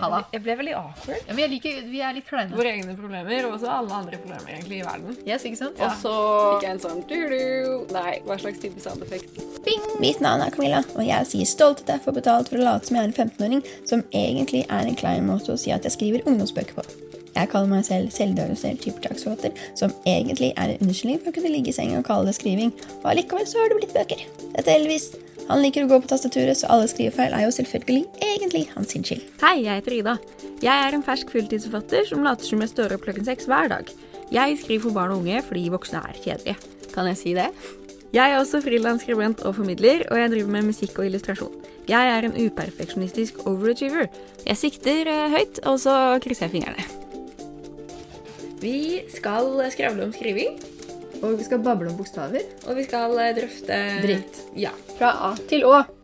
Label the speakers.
Speaker 1: Ha det.
Speaker 2: Jeg ble veldig awkward.
Speaker 1: Ja, men jeg liker, vi er litt kleine.
Speaker 2: Våre egne problemer, og også alle andre problemer egentlig i verden.
Speaker 1: Yes, ikke sant?
Speaker 3: Og så fikk jeg en sånn du-du. Nei, hva slags type soundeffekt?
Speaker 4: Mitt navn er Camilla, og jeg sier stolt at jeg får betalt for å late som jeg er en 15-åring, som egentlig er en klein måte å si at jeg skriver ungdomsbøker på. Jeg kaller meg selv selvdiagnosert typetraksforfatter, som egentlig er en unnskyldning for å kunne ligge i senga og kalle det skriving, og allikevel så har det blitt bøker. Dette er Elvis. Han liker å gå på tastaturet, så alle skrivefeil er jo selvfølgelig egentlig hans sin skyld.
Speaker 5: Hei, jeg heter Ida. Jeg er en fersk fulltidsforfatter som later som jeg står opp klokken seks hver dag. Jeg skriver for barn og unge fordi voksne er kjedelige.
Speaker 4: Kan jeg si det?
Speaker 5: Jeg er også frilansskribent og formidler, og jeg driver med musikk og illustrasjon. Jeg er en uperfeksjonistisk overachiever. Jeg sikter eh, høyt, og så krysser jeg fingrene. Vi skal skravle om skriving,
Speaker 1: Og vi skal bable om bokstaver.
Speaker 5: og vi skal drøfte
Speaker 1: Dritt.
Speaker 5: Ja.
Speaker 1: Fra A til Å.